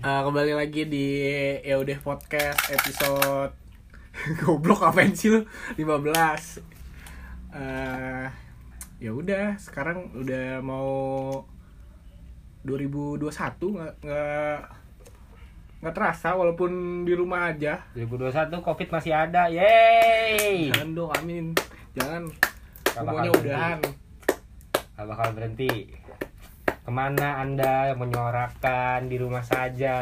Eh, kembali lagi di Yaudeh Podcast episode goblok apaan sih lu 15 eh ya udah sekarang udah mau 2021 nggak nggak nggak terasa walaupun di rumah aja 2021 Covid masih ada. Yeay. jangan dong amin jangan Nggak semuanya bakal udahan Gak bakal berhenti. Kemana Anda yang menyuarakan di rumah saja?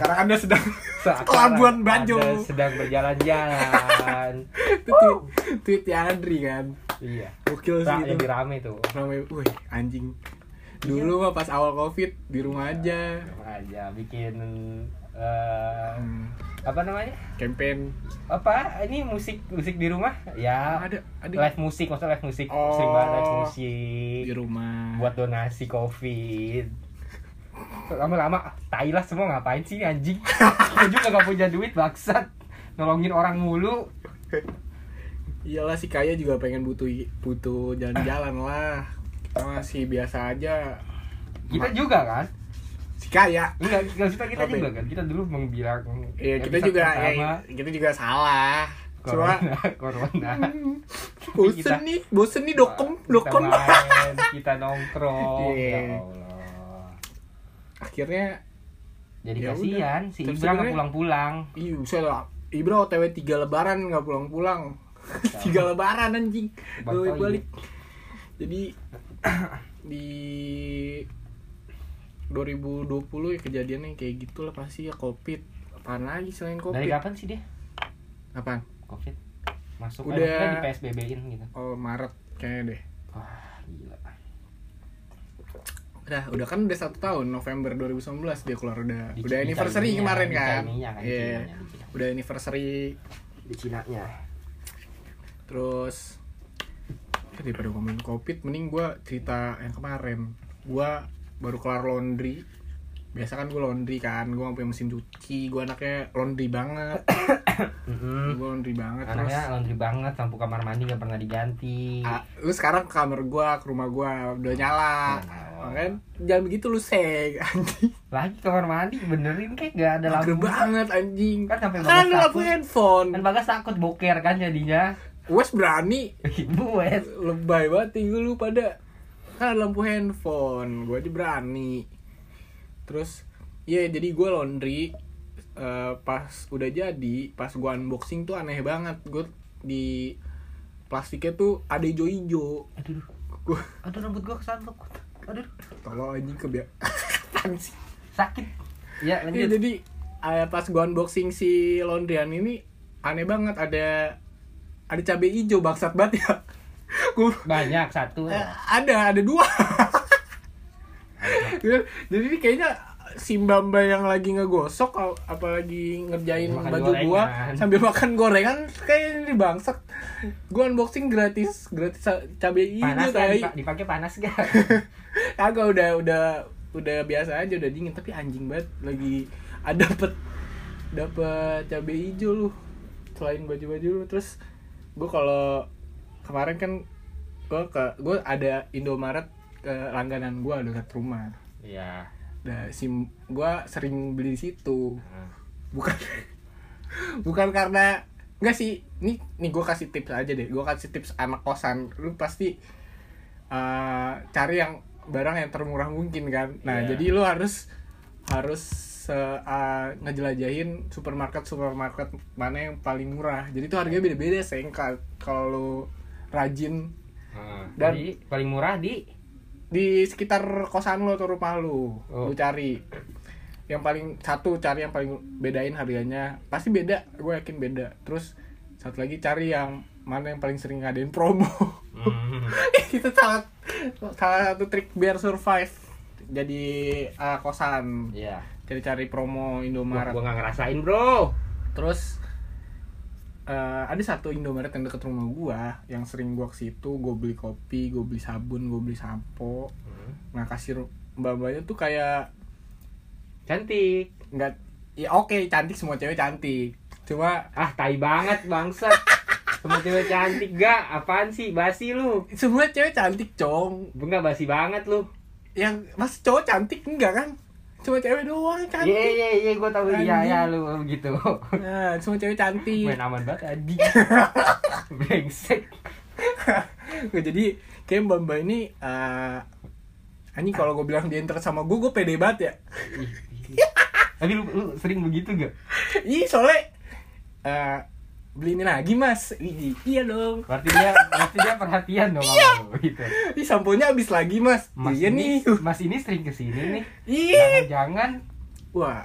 sekarang anda sedang Seakan Pelabuhan Anda Bajo. sedang berjalan-jalan. itu tweet, tweetnya Andri kan iya. gokil sih Nah, itu jadi rame tuh. ramai wih anjing dulu mah pas awal covid di rumah aja Sama aja bikin eh, Hmm, apa namanya? campaign Apa? Ini musik musik di rumah? Ya. ada ada Live musik, maksudnya live musik. Oh. Sering banget live musik. di rumah buat donasi covid lama-lama ah, tai lah semua ngapain sih ini anjing gue juga gak punya duit baksat nolongin orang mulu iyalah si kaya juga pengen butuh butuh jalan-jalan lah kita masih biasa aja kita juga kan si kaya enggak enggak kita kita Apa juga ya? kan kita dulu mengbilang ya, kita episode juga ya, pertama, kita juga salah cuma Hmm, corona corona bosen Kita- nih bosen nih dokem dokem kita main kita nongkrong Iya. ya allah akhirnya jadi Ya kasihan si Terus Ibra nggak sebenarnya- pulang-pulang iya saya lah Ibra OTW tiga lebaran nggak pulang-pulang tiga lebaran anjing Bang Toib. balik jadi di 2020 ya kejadiannya kayak gitulah pasti ya covid apaan lagi selain dari covid kapan sih dia apaan covid masuk Udah- eh, di psbb-in gitu oh Maret kayaknya deh wah gila udah udah kan udah satu tahun November 2019 dia keluar udah Di- udah di anniversary Chinese-nya, kemarin di kan Chinese-nya kan, di Iya. Chinese-nya, di Chinese. udah anniversary di Cina nya terus ya daripada ngomongin covid mending gua cerita yang kemarin gua baru kelar laundry biasa kan gue laundry kan gue punya mesin cuci gue anaknya laundry banget gue laundry banget terus anaknya ya, laundry banget sampo kamar mandi nggak pernah diganti ah, lu sekarang ke kamar gua ke rumah gua udah nyala Nyala. kan jangan begitu lu seg anjing lagi kamar mandi benerin kayak nggak ada Mager lampu banget anjing Kan sampai kan bagus ada lampu takut. handphone kan bagas takut boker kan jadinya wes berani buat lebay banget tinggal lu pada kan ada lampu handphone gue aja berani terus ya jadi gue laundry eh, pas udah jadi pas gue unboxing tuh aneh banget gue di plastiknya tuh ada hijau-hijau aduh aduh. gue aduh rambut gua kesandung aduh tolong anjing kebia Apaan sih? sakit ya Iya, lanjut jadi eh, pas gua unboxing si laundryan ini aneh banget ada ada cabai hijau bangsat banget ya. Gua banyak satu eh, ada ada dua. Ya, jadi ini kayaknya si mbak yang lagi ngegosok a- apalagi ngerjain Makan baju gua gorengan. sambil makan gorengan kayak ini bangsat. Gua unboxing gratis gratis sa- cabai panas hijau kan iya, tai. Dipa- dipakai panas gak Kagak udah udah udah biasa aja udah dingin tapi anjing banget lagi ada dapet dapet cabai hijau lu selain baju-baju lu terus gue kalau kemarin kan gue ke gue ada Indomaret ke langganan gue dekat rumah iya Nah, sim gue sering beli di situ Nah, bukan bukan karena enggak sih nih nih gue kasih tips aja deh gue kasih tips anak kosan lu pasti eh, cari yang barang yang termurah mungkin kan nah Iya. jadi lu harus harus eh, eh, ngejelajahin supermarket supermarket mana yang paling murah jadi tuh harganya beda-beda seng Ka- kalau lu rajin nah, Dan- jadi paling murah di di sekitar kosan lo atau rumah lo Oh. lu cari yang paling satu cari yang paling bedain harganya pasti beda gue yakin beda terus satu lagi cari yang mana yang paling sering ngadain promo Hmm. itu salah salah satu trik biar survive jadi ah, kosan iya cari-cari promo gua, Indomaret gua nggak ngerasain bro terus eh, ada satu Indomaret yang deket rumah gua yang sering gua ke situ gua beli kopi gua beli sabun gua beli sampo nah kasir mbak-mbaknya tuh kayak cantik nggak ya oke cantik semua cewek cantik cuma ah tai banget bangsat semua cewek cantik gak apaan sih basi lu semua cewek cantik cong enggak basi banget lu yang mas cowok cantik enggak kan cuma cewek doang cantik Iya iya iya gue tahu iya Anjing. ya lu gitu. nah cuma cewek cantik Main aman banget anjing. Brengsek. Nggak, jadi kayak mbak mbak ini eh anjing kalau gue bilang dia interest sama gue gue pede banget ya Ih, ih. Tapi lu, lu sering begitu gak? ih soalnya eh beli ini lagi mas Ih, iya dong Berarti dia berarti dia perhatian dong sama lu, gitu. ih samponya habis lagi mas, Mas iya nih ini, Iya. Mas ini sering kesini nih. ih Jangan-jangan wah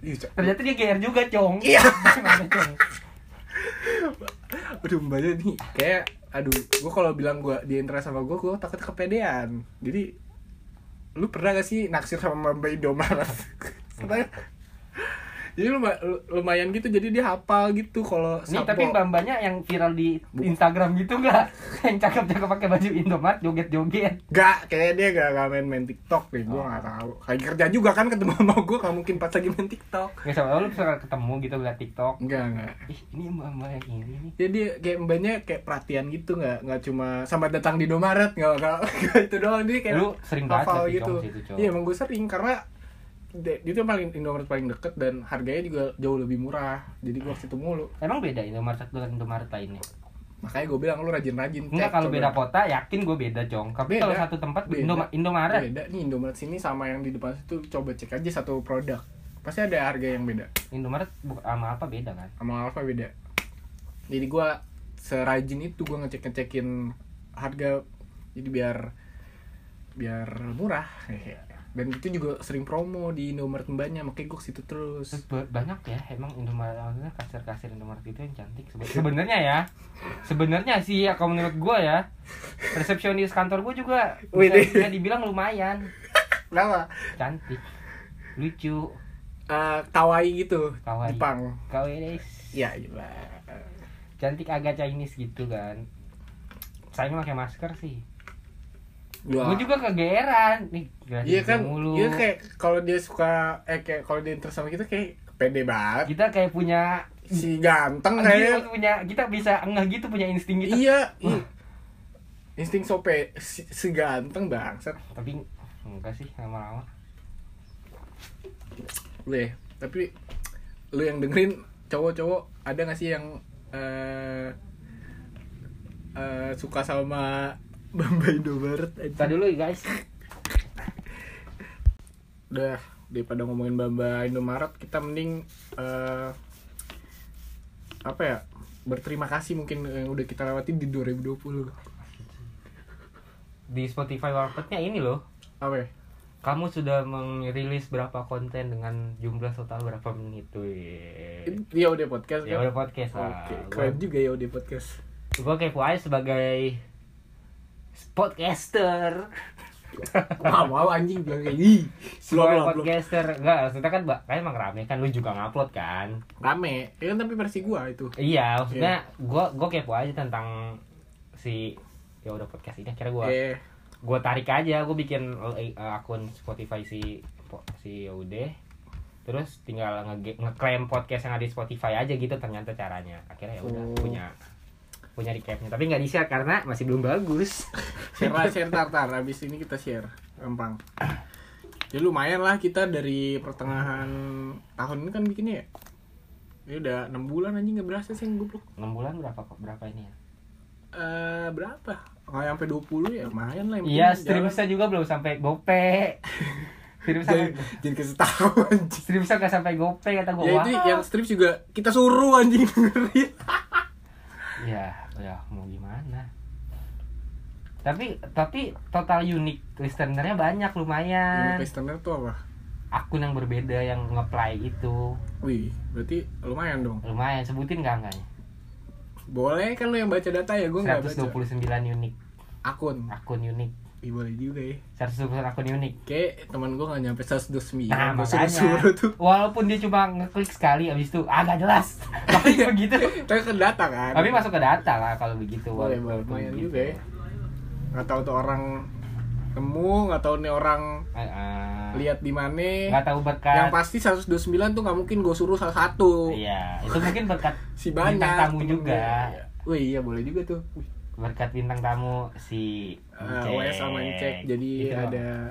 Ih, co- ternyata dia GR juga, Cong. Iya. Gimana, Cong? aduh mbaknya nih kayak aduh gue kalau bilang gue dia interest sama gue gue takut kepedean jadi lu pernah gak sih naksir sama mbak Indomaret Pernah? jadi luma- lumayan gitu jadi dia hafal gitu kalau Nih, sampo. tapi mbak-mbaknya yang viral di Instagram gitu gak? Yang cakep-cakep pakai baju Indomaret joget-joget. Gak, kayaknya dia gak, gak main main TikTok deh, gue Oh. gak tau Lagi kerja juga kan ketemu sama gue, gak mungkin pas lagi main TikTok Nggak sama lu suka ketemu gitu liat TikTok. Enggak, enggak Ih, ini mbak-mbak yang ini nih. Jadi kayak mbaknya kayak perhatian gitu, gak, nggak cuma sama datang di Indomaret, gak, gak, gak itu gitu doang Jadi kayak Lu sering banget hafal liat gitu TikTok situ, Cong. Iya emang gue sering, karena de- itu yang paling Indomaret paling deket dan harganya juga jauh lebih murah Jadi gue waktu itu mulu Emang beda Indomaret satu dengan Indomaret lainnya? Makanya gue bilang lu rajin-rajin Enggak, cek, kalau coba. beda kota yakin gue beda, Cong. Tapi Beda. kalau satu tempat Beda. Indoma- Indomaret. Beda nih Indomaret sini sama yang di depan situ coba cek aja satu produk Pasti ada harga yang beda Indomaret bu- sama apa beda kan? sama Alfa beda jadi gua serajin itu gua ngecek ngecekin harga jadi biar biar murah dan itu juga sering promo di Indomaret mbaknya makanya gua ke situ Terus terus ba- banyak ya emang Indomaret maksudnya kasir-kasir Indomaret itu yang cantik sebe- sebenarnya ya. Sebenarnya sih ya kalau menurut gue ya. Resepsionis kantor gue juga bisa, Widih. bisa dibilang lumayan kenapa cantik. Lucu, Eh, kawaii gitu Kawaii. Jepang kawaii ya gila cantik agak Chinese gitu kan. Saya pakai masker sih. Gua- Gue juga kegeeran nih. gerakin iya kan mulu. iya kayak kalau dia suka eh kayak kalau dia interest sama kita kayak pede banget kita kayak punya si ganteng kita kayak punya kita bisa ngeh gitu punya insting gitu. iya i- insting sope si, si ganteng bangsat Tapi enggak sih lama-lama. Boleh, ya. tapi lu yang dengerin cowok-cowok ada gak sih yang eh eh, suka sama Bamba Indomaret Kita aja? dulu guys. Udah, daripada ngomongin Bamba Indomaret, kita mending eh apa ya? Berterima kasih mungkin yang udah kita lewati di 2020. di Spotify Warpednya ini loh Apa ya? kamu sudah merilis berapa konten dengan jumlah total berapa menit tuh Ya udah podcast. ya kan? udah podcast lah Oke, gua, keren juga ya udah podcast. gua kepo aja sebagai podcaster Wah, mau anjing bilang kayak "Ih, belum, sebagai belum, belum." podcaster enggak maksudnya kan Mbak, kan emang rame kan lu juga ngupload kan Rame. Ya kan tapi versi gua itu. iya maksudnya gua gua kepo aja tentang si ya udah podcast ini akhirnya gua Eh, gue tarik aja gue bikin eh, akun Spotify si po- si Yaude terus tinggal nge ngeklaim podcast yang ada di Spotify aja gitu ternyata caranya akhirnya ya udah Oh. punya punya recapnya tapi nggak di share karena masih belum bagus share lah, share tar tar abis ini kita share gampang ya lumayan lah kita dari pertengahan tahun ini kan bikinnya ya ini udah enam bulan anjing nggak berasa sih yang goblok 6 bulan berapa kok berapa ini ya Eh berapa nggak sampai 20 ya lumayan lah yang iya penting jalan. streamsnya juga belum sampai gope jadi, streamsnya jadi kasih tahu anjing streamsnya nggak sampai gope kata gue ya wah itu yang strip juga kita suruh anjing dengerin ya ya mau gimana tapi tapi total unique listenernya banyak lumayan listener tuh apa akun yang berbeda yang ngeplay itu wih berarti lumayan dong lumayan sebutin nggak angkanya boleh kan lo yang baca data ya gue nggak baca 129 unik akun akun unik Ih, boleh juga ya 129 akun unik Kayak teman gue gak nyampe 129 Gue nah makanya Iya, suruh-suruh tuh walaupun dia cuma ngeklik sekali abis itu agak jelas tapi begitu Tapi ke data kan tapi masuk ke data lah kalau begitu Boleh, boleh. walaupun gitu. Lumayan juga ya. begitu. Gak tau tuh orang Nemu Gak tau nih orang Ah, ah. Lihat di mana nggak tahu Yang berkat pasti 129 tuh gak mungkin gue suruh salah satu iya itu mungkin berkat Si banyak bintang tamu temen juga gua. Wih iya boleh juga tuh berkat bintang tamu si Eh, WS Ah, sama Encek Jadi Itu loh. ada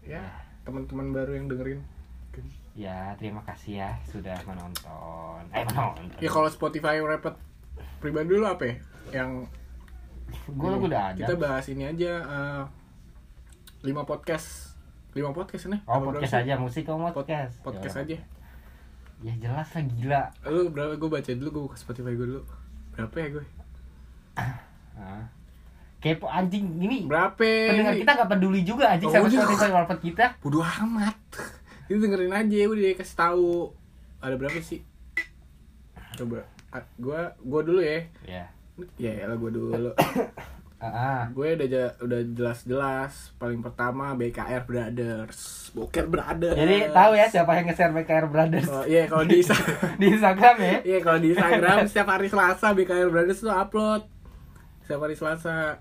ya teman-teman baru yang dengerin Mungkin. Ya, terima kasih ya sudah menonton. Eh, menonton. ya kalau Spotify Wrapped pribadi dulu apa ya yang gue lagu udah ada. kita bahas ini aja eh, lima podcast lima podcast nih oh, podcast aja, musik kamu podcast. podcast Ya, aja Ya jelas lah gila. lu berapa gue baca dulu gue buka Spotify gue dulu berapa ya gue Hah. Kepo anjing ini. berapa Pendengar kita gak peduli juga anjing Oh, sama iya. Spotify Warped kita. bodoh amat itu dengerin aja udah kasih tahu ada berapa sih coba A- gua gua dulu ya Ya. ya lah gua dulu Ah, ah. gue udah je- udah jelas-jelas paling pertama BKR Brothers Boker Brothers Jadi tahu ya siapa yang nge-share BKR Brothers Oh, iya kalau di di Instagram ya. iya kalau di Instagram setiap hari Selasa BKR Brothers tuh upload setiap hari Selasa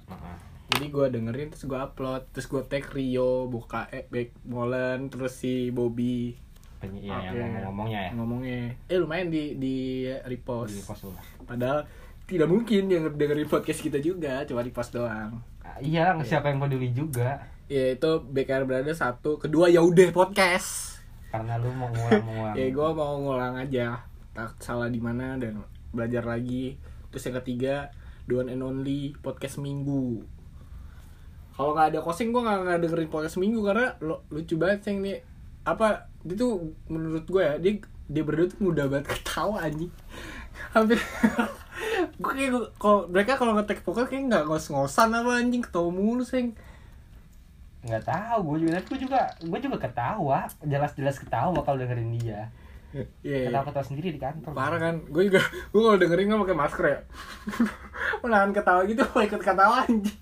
jadi gua dengerin terus gua upload terus gua tag Rio buka eh Bek Molen terus si Bobby Penyi ya, Oke. yang ngomongnya ya. ngomongnya eh lumayan di di Di repost pos dulu. padahal tidak mungkin yang dengerin podcast kita juga cuma repost doang Ah, Iya, siapa yang peduli juga. yaitu BKR Brothers satu kedua ya udah podcast Karena lu mau ngulang-ngulang. ya gue mau ngulang aja tak salah di mana dan belajar lagi terus yang ketiga the one and only podcast minggu kalau nggak ada kosing gue nggak nggak dengerin podcast minggu karena lo, lucu banget sih ini apa dia tuh menurut gue ya dia dia berdua tuh mudah banget ketawa anjing hampir gue kayak gua- kalau mereka kalau ngetek vokal kayak nggak ngos-ngosan apa anjing ketawa mulu seng nggak tahu gue juga tapi gue juga gue juga ketawa jelas-jelas ketawa kalau dengerin dia Iya, iya. ketawa ketawa sendiri di kantor parah kan gue juga gue kalau dengerin nggak pakai masker ya menahan ketawa gitu mau ikut ketawa anjing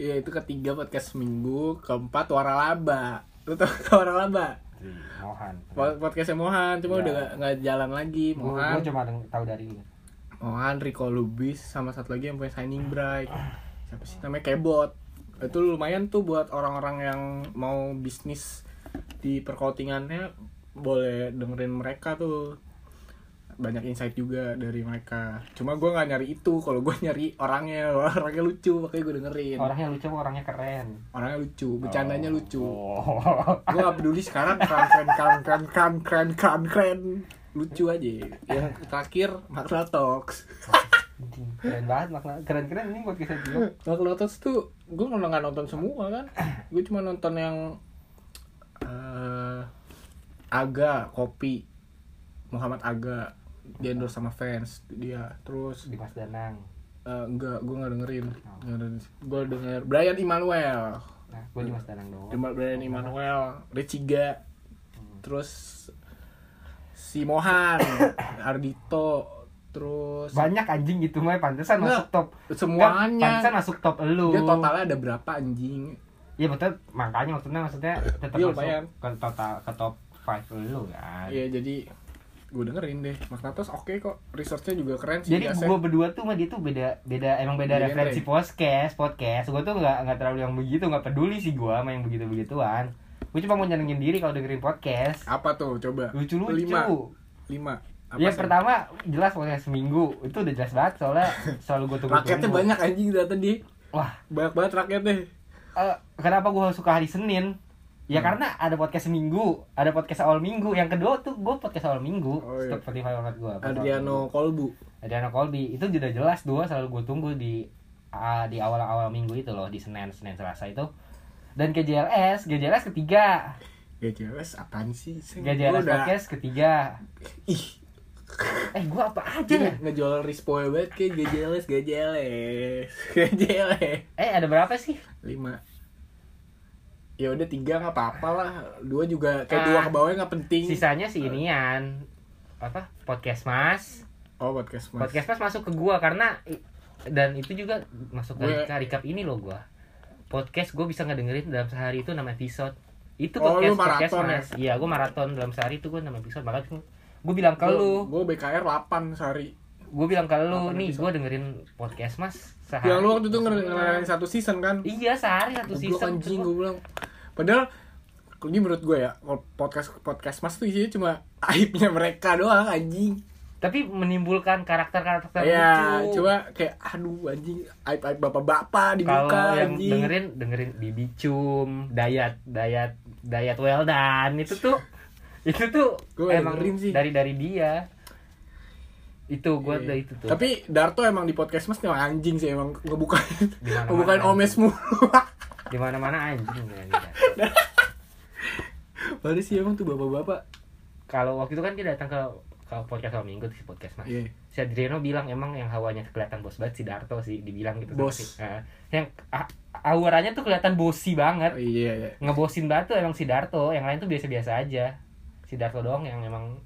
ya itu ketiga podcast minggu keempat waralaba lu tau gak waralaba Di mohan Po- podcastnya Mohan cuma Ya. udah nggak- nggak jalan lagi gue Mohan cuma deng- tahu dari lu Mohan Rico Lubis sama satu lagi yang punya Shining Bright siapa sih namanya Kebot itu lumayan tuh buat orang-orang yang mau bisnis di perkoutingannya boleh dengerin mereka tuh banyak insight juga dari mereka cuma gue nggak nyari itu kalau gue nyari orangnya orangnya lucu makanya gue dengerin orangnya lucu orangnya keren orangnya lucu Iya. bercandanya Oh. lucu Oh. gue gak peduli sekarang keren keren keren keren keren keren keren lucu aja yang terakhir Makna Talks Anjing, keren banget makna keren keren ini buat kisah dia Kalau Lotus tuh gue nggak nggak nonton semua kan, gue cuma nonton yang eh Aga kopi Muhammad Aga di endorse sama fans dia terus di Mas Danang eh, enggak gue nggak dengerin, gue denger Brian Immanuel, nah gue di Mas Danang doang Dem- Brian Immanuel, Reciga, terus si Mohan, Ardito, terus banyak anjing gitu mah pantesan Nggak. masuk top Kan, pantesan semuanya masuk top elu dia totalnya ada berapa anjing Iya betul, makanya maksudnya maksudnya tetap Iya, masuk lumayan. ke total ke top 5 lu kan. Iya jadi gue dengerin deh Magnatos oke kok researchnya juga keren sih Jadi biasa. gua berdua tuh sama dia tuh beda beda emang beda iya, Beda referensi podcast, podcast. Gua tuh nggak nggak terlalu yang begitu, nggak peduli sih gua sama yang begitu-begituan. Gua cuma mau nyenengin diri kalau dengerin podcast. apa tuh coba Lucu-lucu. lima lima apa Ya sih? Iya, pertama jelas podcast seminggu itu udah jelas banget soalnya selalu gua tunggu. rakyatnya banyak anjing data di Wah, banyak banget rakyatnya eh, kenapa gua suka hari Senin? Ya Hmm. karena ada podcast seminggu, ada podcast awal minggu. Yang kedua tuh gua podcast awal minggu. Oh, iya. Spotify banget gua. podcast awal minggu. Adriano Kolbu Adriano Colby itu sudah jelas dua selalu gue tunggu di ah, di awal-awal minggu itu loh di Senin Senin Selasa itu dan GJLS GJLS ketiga GJLS apaan sih Seng? Gua GJLS udah podcast ketiga ih eh gue apa aja dia ya ngejual rispo banget kayak GJLS GJLS GJLS eh ada berapa sih lima ya udah tiga nggak apa-apa lah dua juga kayak Ah. dua ke bawahnya nggak penting sisanya si inian apa podcast mas oh podcast mas podcast mas masuk ke gua karena i- dan itu juga masuk ke Gue- recap- recap ini loh gua podcast gue bisa ngedengerin dalam sehari itu 6 episode itu Oh, podcast lu podcast maraton ya? mas iya gue maraton dalam sehari itu gue 6 episode makanya gue bilang ke lu gue BKR 8 sehari gue bilang ke lu Delapan nih episode. gue dengerin podcast mas sehari Yang lu waktu itu ngeren- ngerenangin satu season kan? iya sehari satu Goblok season anjing Gua- gue bilang. Padahal ini menurut gue ya, podcast podcast Mas tuh isinya cuma aibnya mereka doang anjing. tapi menimbulkan karakter-karakter ya lucu. coba kayak aduh anjing aib aib bapak bapak Kalau dibuka yang anjing dengerin dengerin Bibi Cum, Dayat, Dayat, Dayat Weldan itu tuh itu tuh Gua emang dengerin sih. dari dari dia. Itu gua Iya. ada itu tuh. tapi Darto emang di podcast mas emang anjing sih emang ngebukain Dimana-mana ngebukain Nah, anjing. omes mulu di mana-mana anjing kan. baru sih emang tuh bapak bapak Kalau waktu itu kan dia datang ke ke podcast Om Minggu tuh si podcast Mas. Iya. Si Adriano bilang emang yang hawanya kelihatan bos banget si Darto sih dibilang gitu Bos. sih. Nah, yang a- auranya tuh kelihatan bosi banget. Oh, iya iya ngebosin batu emang si Darto yang lain tuh biasa-biasa aja si Darto doang yang emang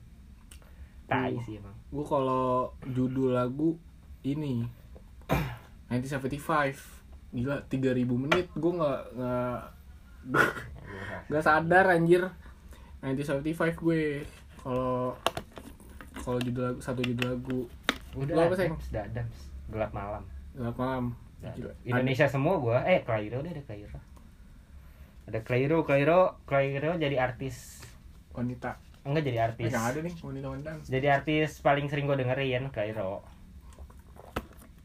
tai Uh. sih emang gue kalau judul lagu ini 1975 gila 3000 menit gue nggak nggak nggak sadar anjir 1975 gue kalau kalau judul lagu satu judul lagu udah Lu apa, Seng? Adams, udah Adams gelap malam gelap malam Udah Gila. Adams. Indonesia semua gua eh Clairo deh ada Clairo ada Clairo Clairo Clairo jadi artis wanita enggak jadi Eh, artis nggak ada nih wanita wanita jadi artis paling sering gua dengerin Clairo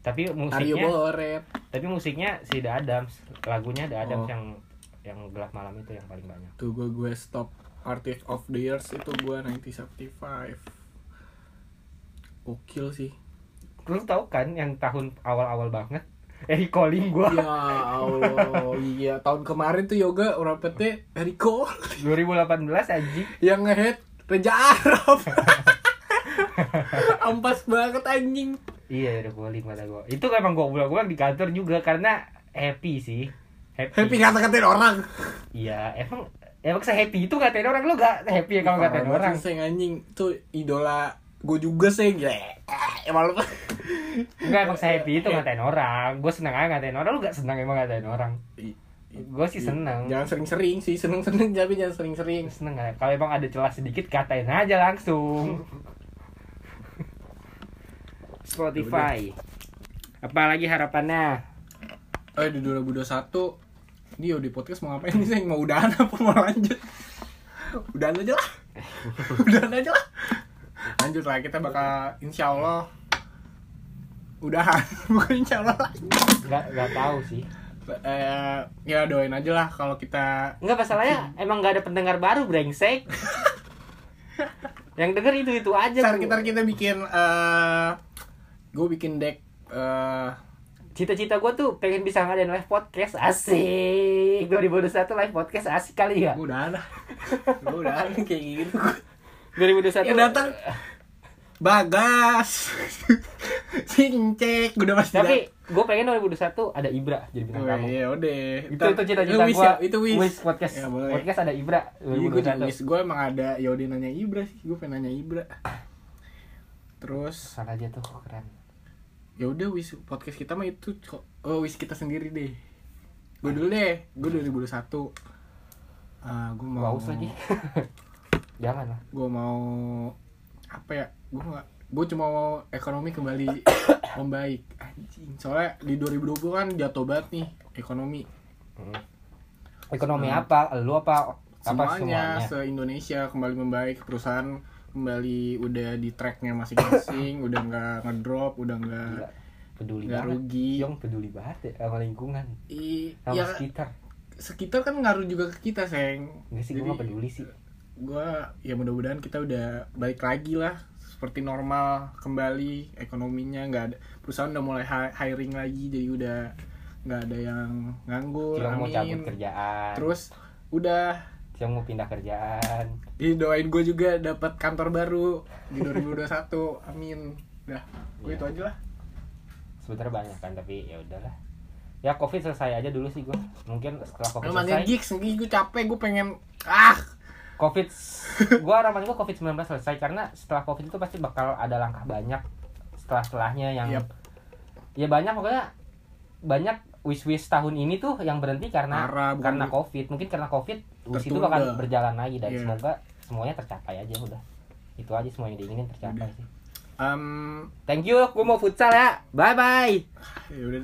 tapi Aryo musiknya Boret tapi musiknya si The Adams lagunya The Adams Oh. yang yang gelap malam itu yang paling banyak tuh gue gue stop artist of the years itu gue 1975 Gokil sih lu tau kan yang tahun awal-awal banget eh calling gua Ya Allah Iya tahun kemarin tuh yoga orang PT Eriko 2018 anjing Yang ngehead Reja Arab Ampas banget anjing iya udah calling kata gua itu emang gua ulang ulang di kantor juga karena happy sih happy, Happy ngata-ngatain orang iya emang emang se happy itu ngatain orang lu gak happy ya kalau ngatain orang Seng anjing Tuh idola Gue juga seng Ya eh, Emang lu enggak emang se happy itu ngatain orang gua seneng aja ngatain orang lu gak seneng emang ngatain orang I- i- gua sih seneng Jangan sering-sering sih Seneng-seneng tapi jangan sering-sering seneng aja. kalau emang ada celah sedikit katain aja langsung Spotify apalagi harapannya Eh di 2021 Dio di podcast mau ngapain nih seng Mau udahan apa mau lanjut Udahan aja lah Udahan aja lah Lanjut lah kita bakal insya Allah Udahan Bukan insya Allah lah nggak nggak tahu sih Eh, Ya doain aja lah kalau kita nggak masalahnya emang nggak ada pendengar baru brengsek yang denger itu itu aja Ntar Bu. kita, kita bikin eh Gue bikin deck eh cita-cita gue tuh pengen bisa ngadain live podcast asik 2021 live podcast asik kali ya Gue udahan lah Gue udahan kayak gitu 2021 Yang datang Eh, Bagas Sincek Udah pasti tapi gue pengen 2021 ada Ibra jadi bintang Oh, tamu iya udah. itu Ntar- itu cita-cita Lu wish gue ya? Itu wish. podcast Ya, boleh. podcast ada Ibra Iya, gue juga 2021 wish. Gue emang ada Yodi nanya Ibra sih. Gue pengen nanya Ibra. Terus salah aja tuh keren ya udah wish podcast kita mah itu co- oh, wish kita sendiri deh. Gue dulu deh. Gue 2021. Ah, gue mau Baus lagi jangan lah Gue mau apa ya? Gue nggak gue cuma mau ekonomi kembali membaik anjing soalnya di 2020 kan jatuh banget nih ekonomi Hmm. ekonomi apa lu apa apa semuanya, semuanya se Indonesia kembali membaik perusahaan kembali udah di tracknya masing-masing udah nggak ngedrop udah nggak Gila, peduli nggak banget rugi Yong peduli banget ya sama lingkungan I- sama ya sekitar sekitar kan ngaruh juga ke kita seng nggak sih gue nggak peduli sih gua ya mudah-mudahan kita udah balik lagi lah seperti normal kembali ekonominya nggak ada perusahaan udah mulai hi- hiring lagi jadi udah nggak ada yang nganggur Ciong mau cabut amin kerjaan terus udah Ciong mau pindah kerjaan Jadi doain gue juga dapat kantor baru di 2021. Amin. Udah, gue Oh, Iya. itu aja lah. sebenarnya banyak kan tapi ya udahlah ya covid selesai aja dulu sih gue mungkin setelah covid Namanya selesai gigs, nih gue capek, gue pengen ah. covid gue harapan gue covid 19 selesai karena setelah covid itu pasti bakal ada langkah banyak setelah setelahnya yang Yap. ya banyak pokoknya banyak wish wish tahun ini tuh yang berhenti karena Parah, bukan Nah, karena wi- covid mungkin karena covid wish itu bakal Iya. Tertunda. berjalan lagi dan Iya. semoga semuanya tercapai aja udah itu aja semua yang diinginin tercapai Udah. sih Um, Thank you, gue mau futsal ya. Bye bye. ya udah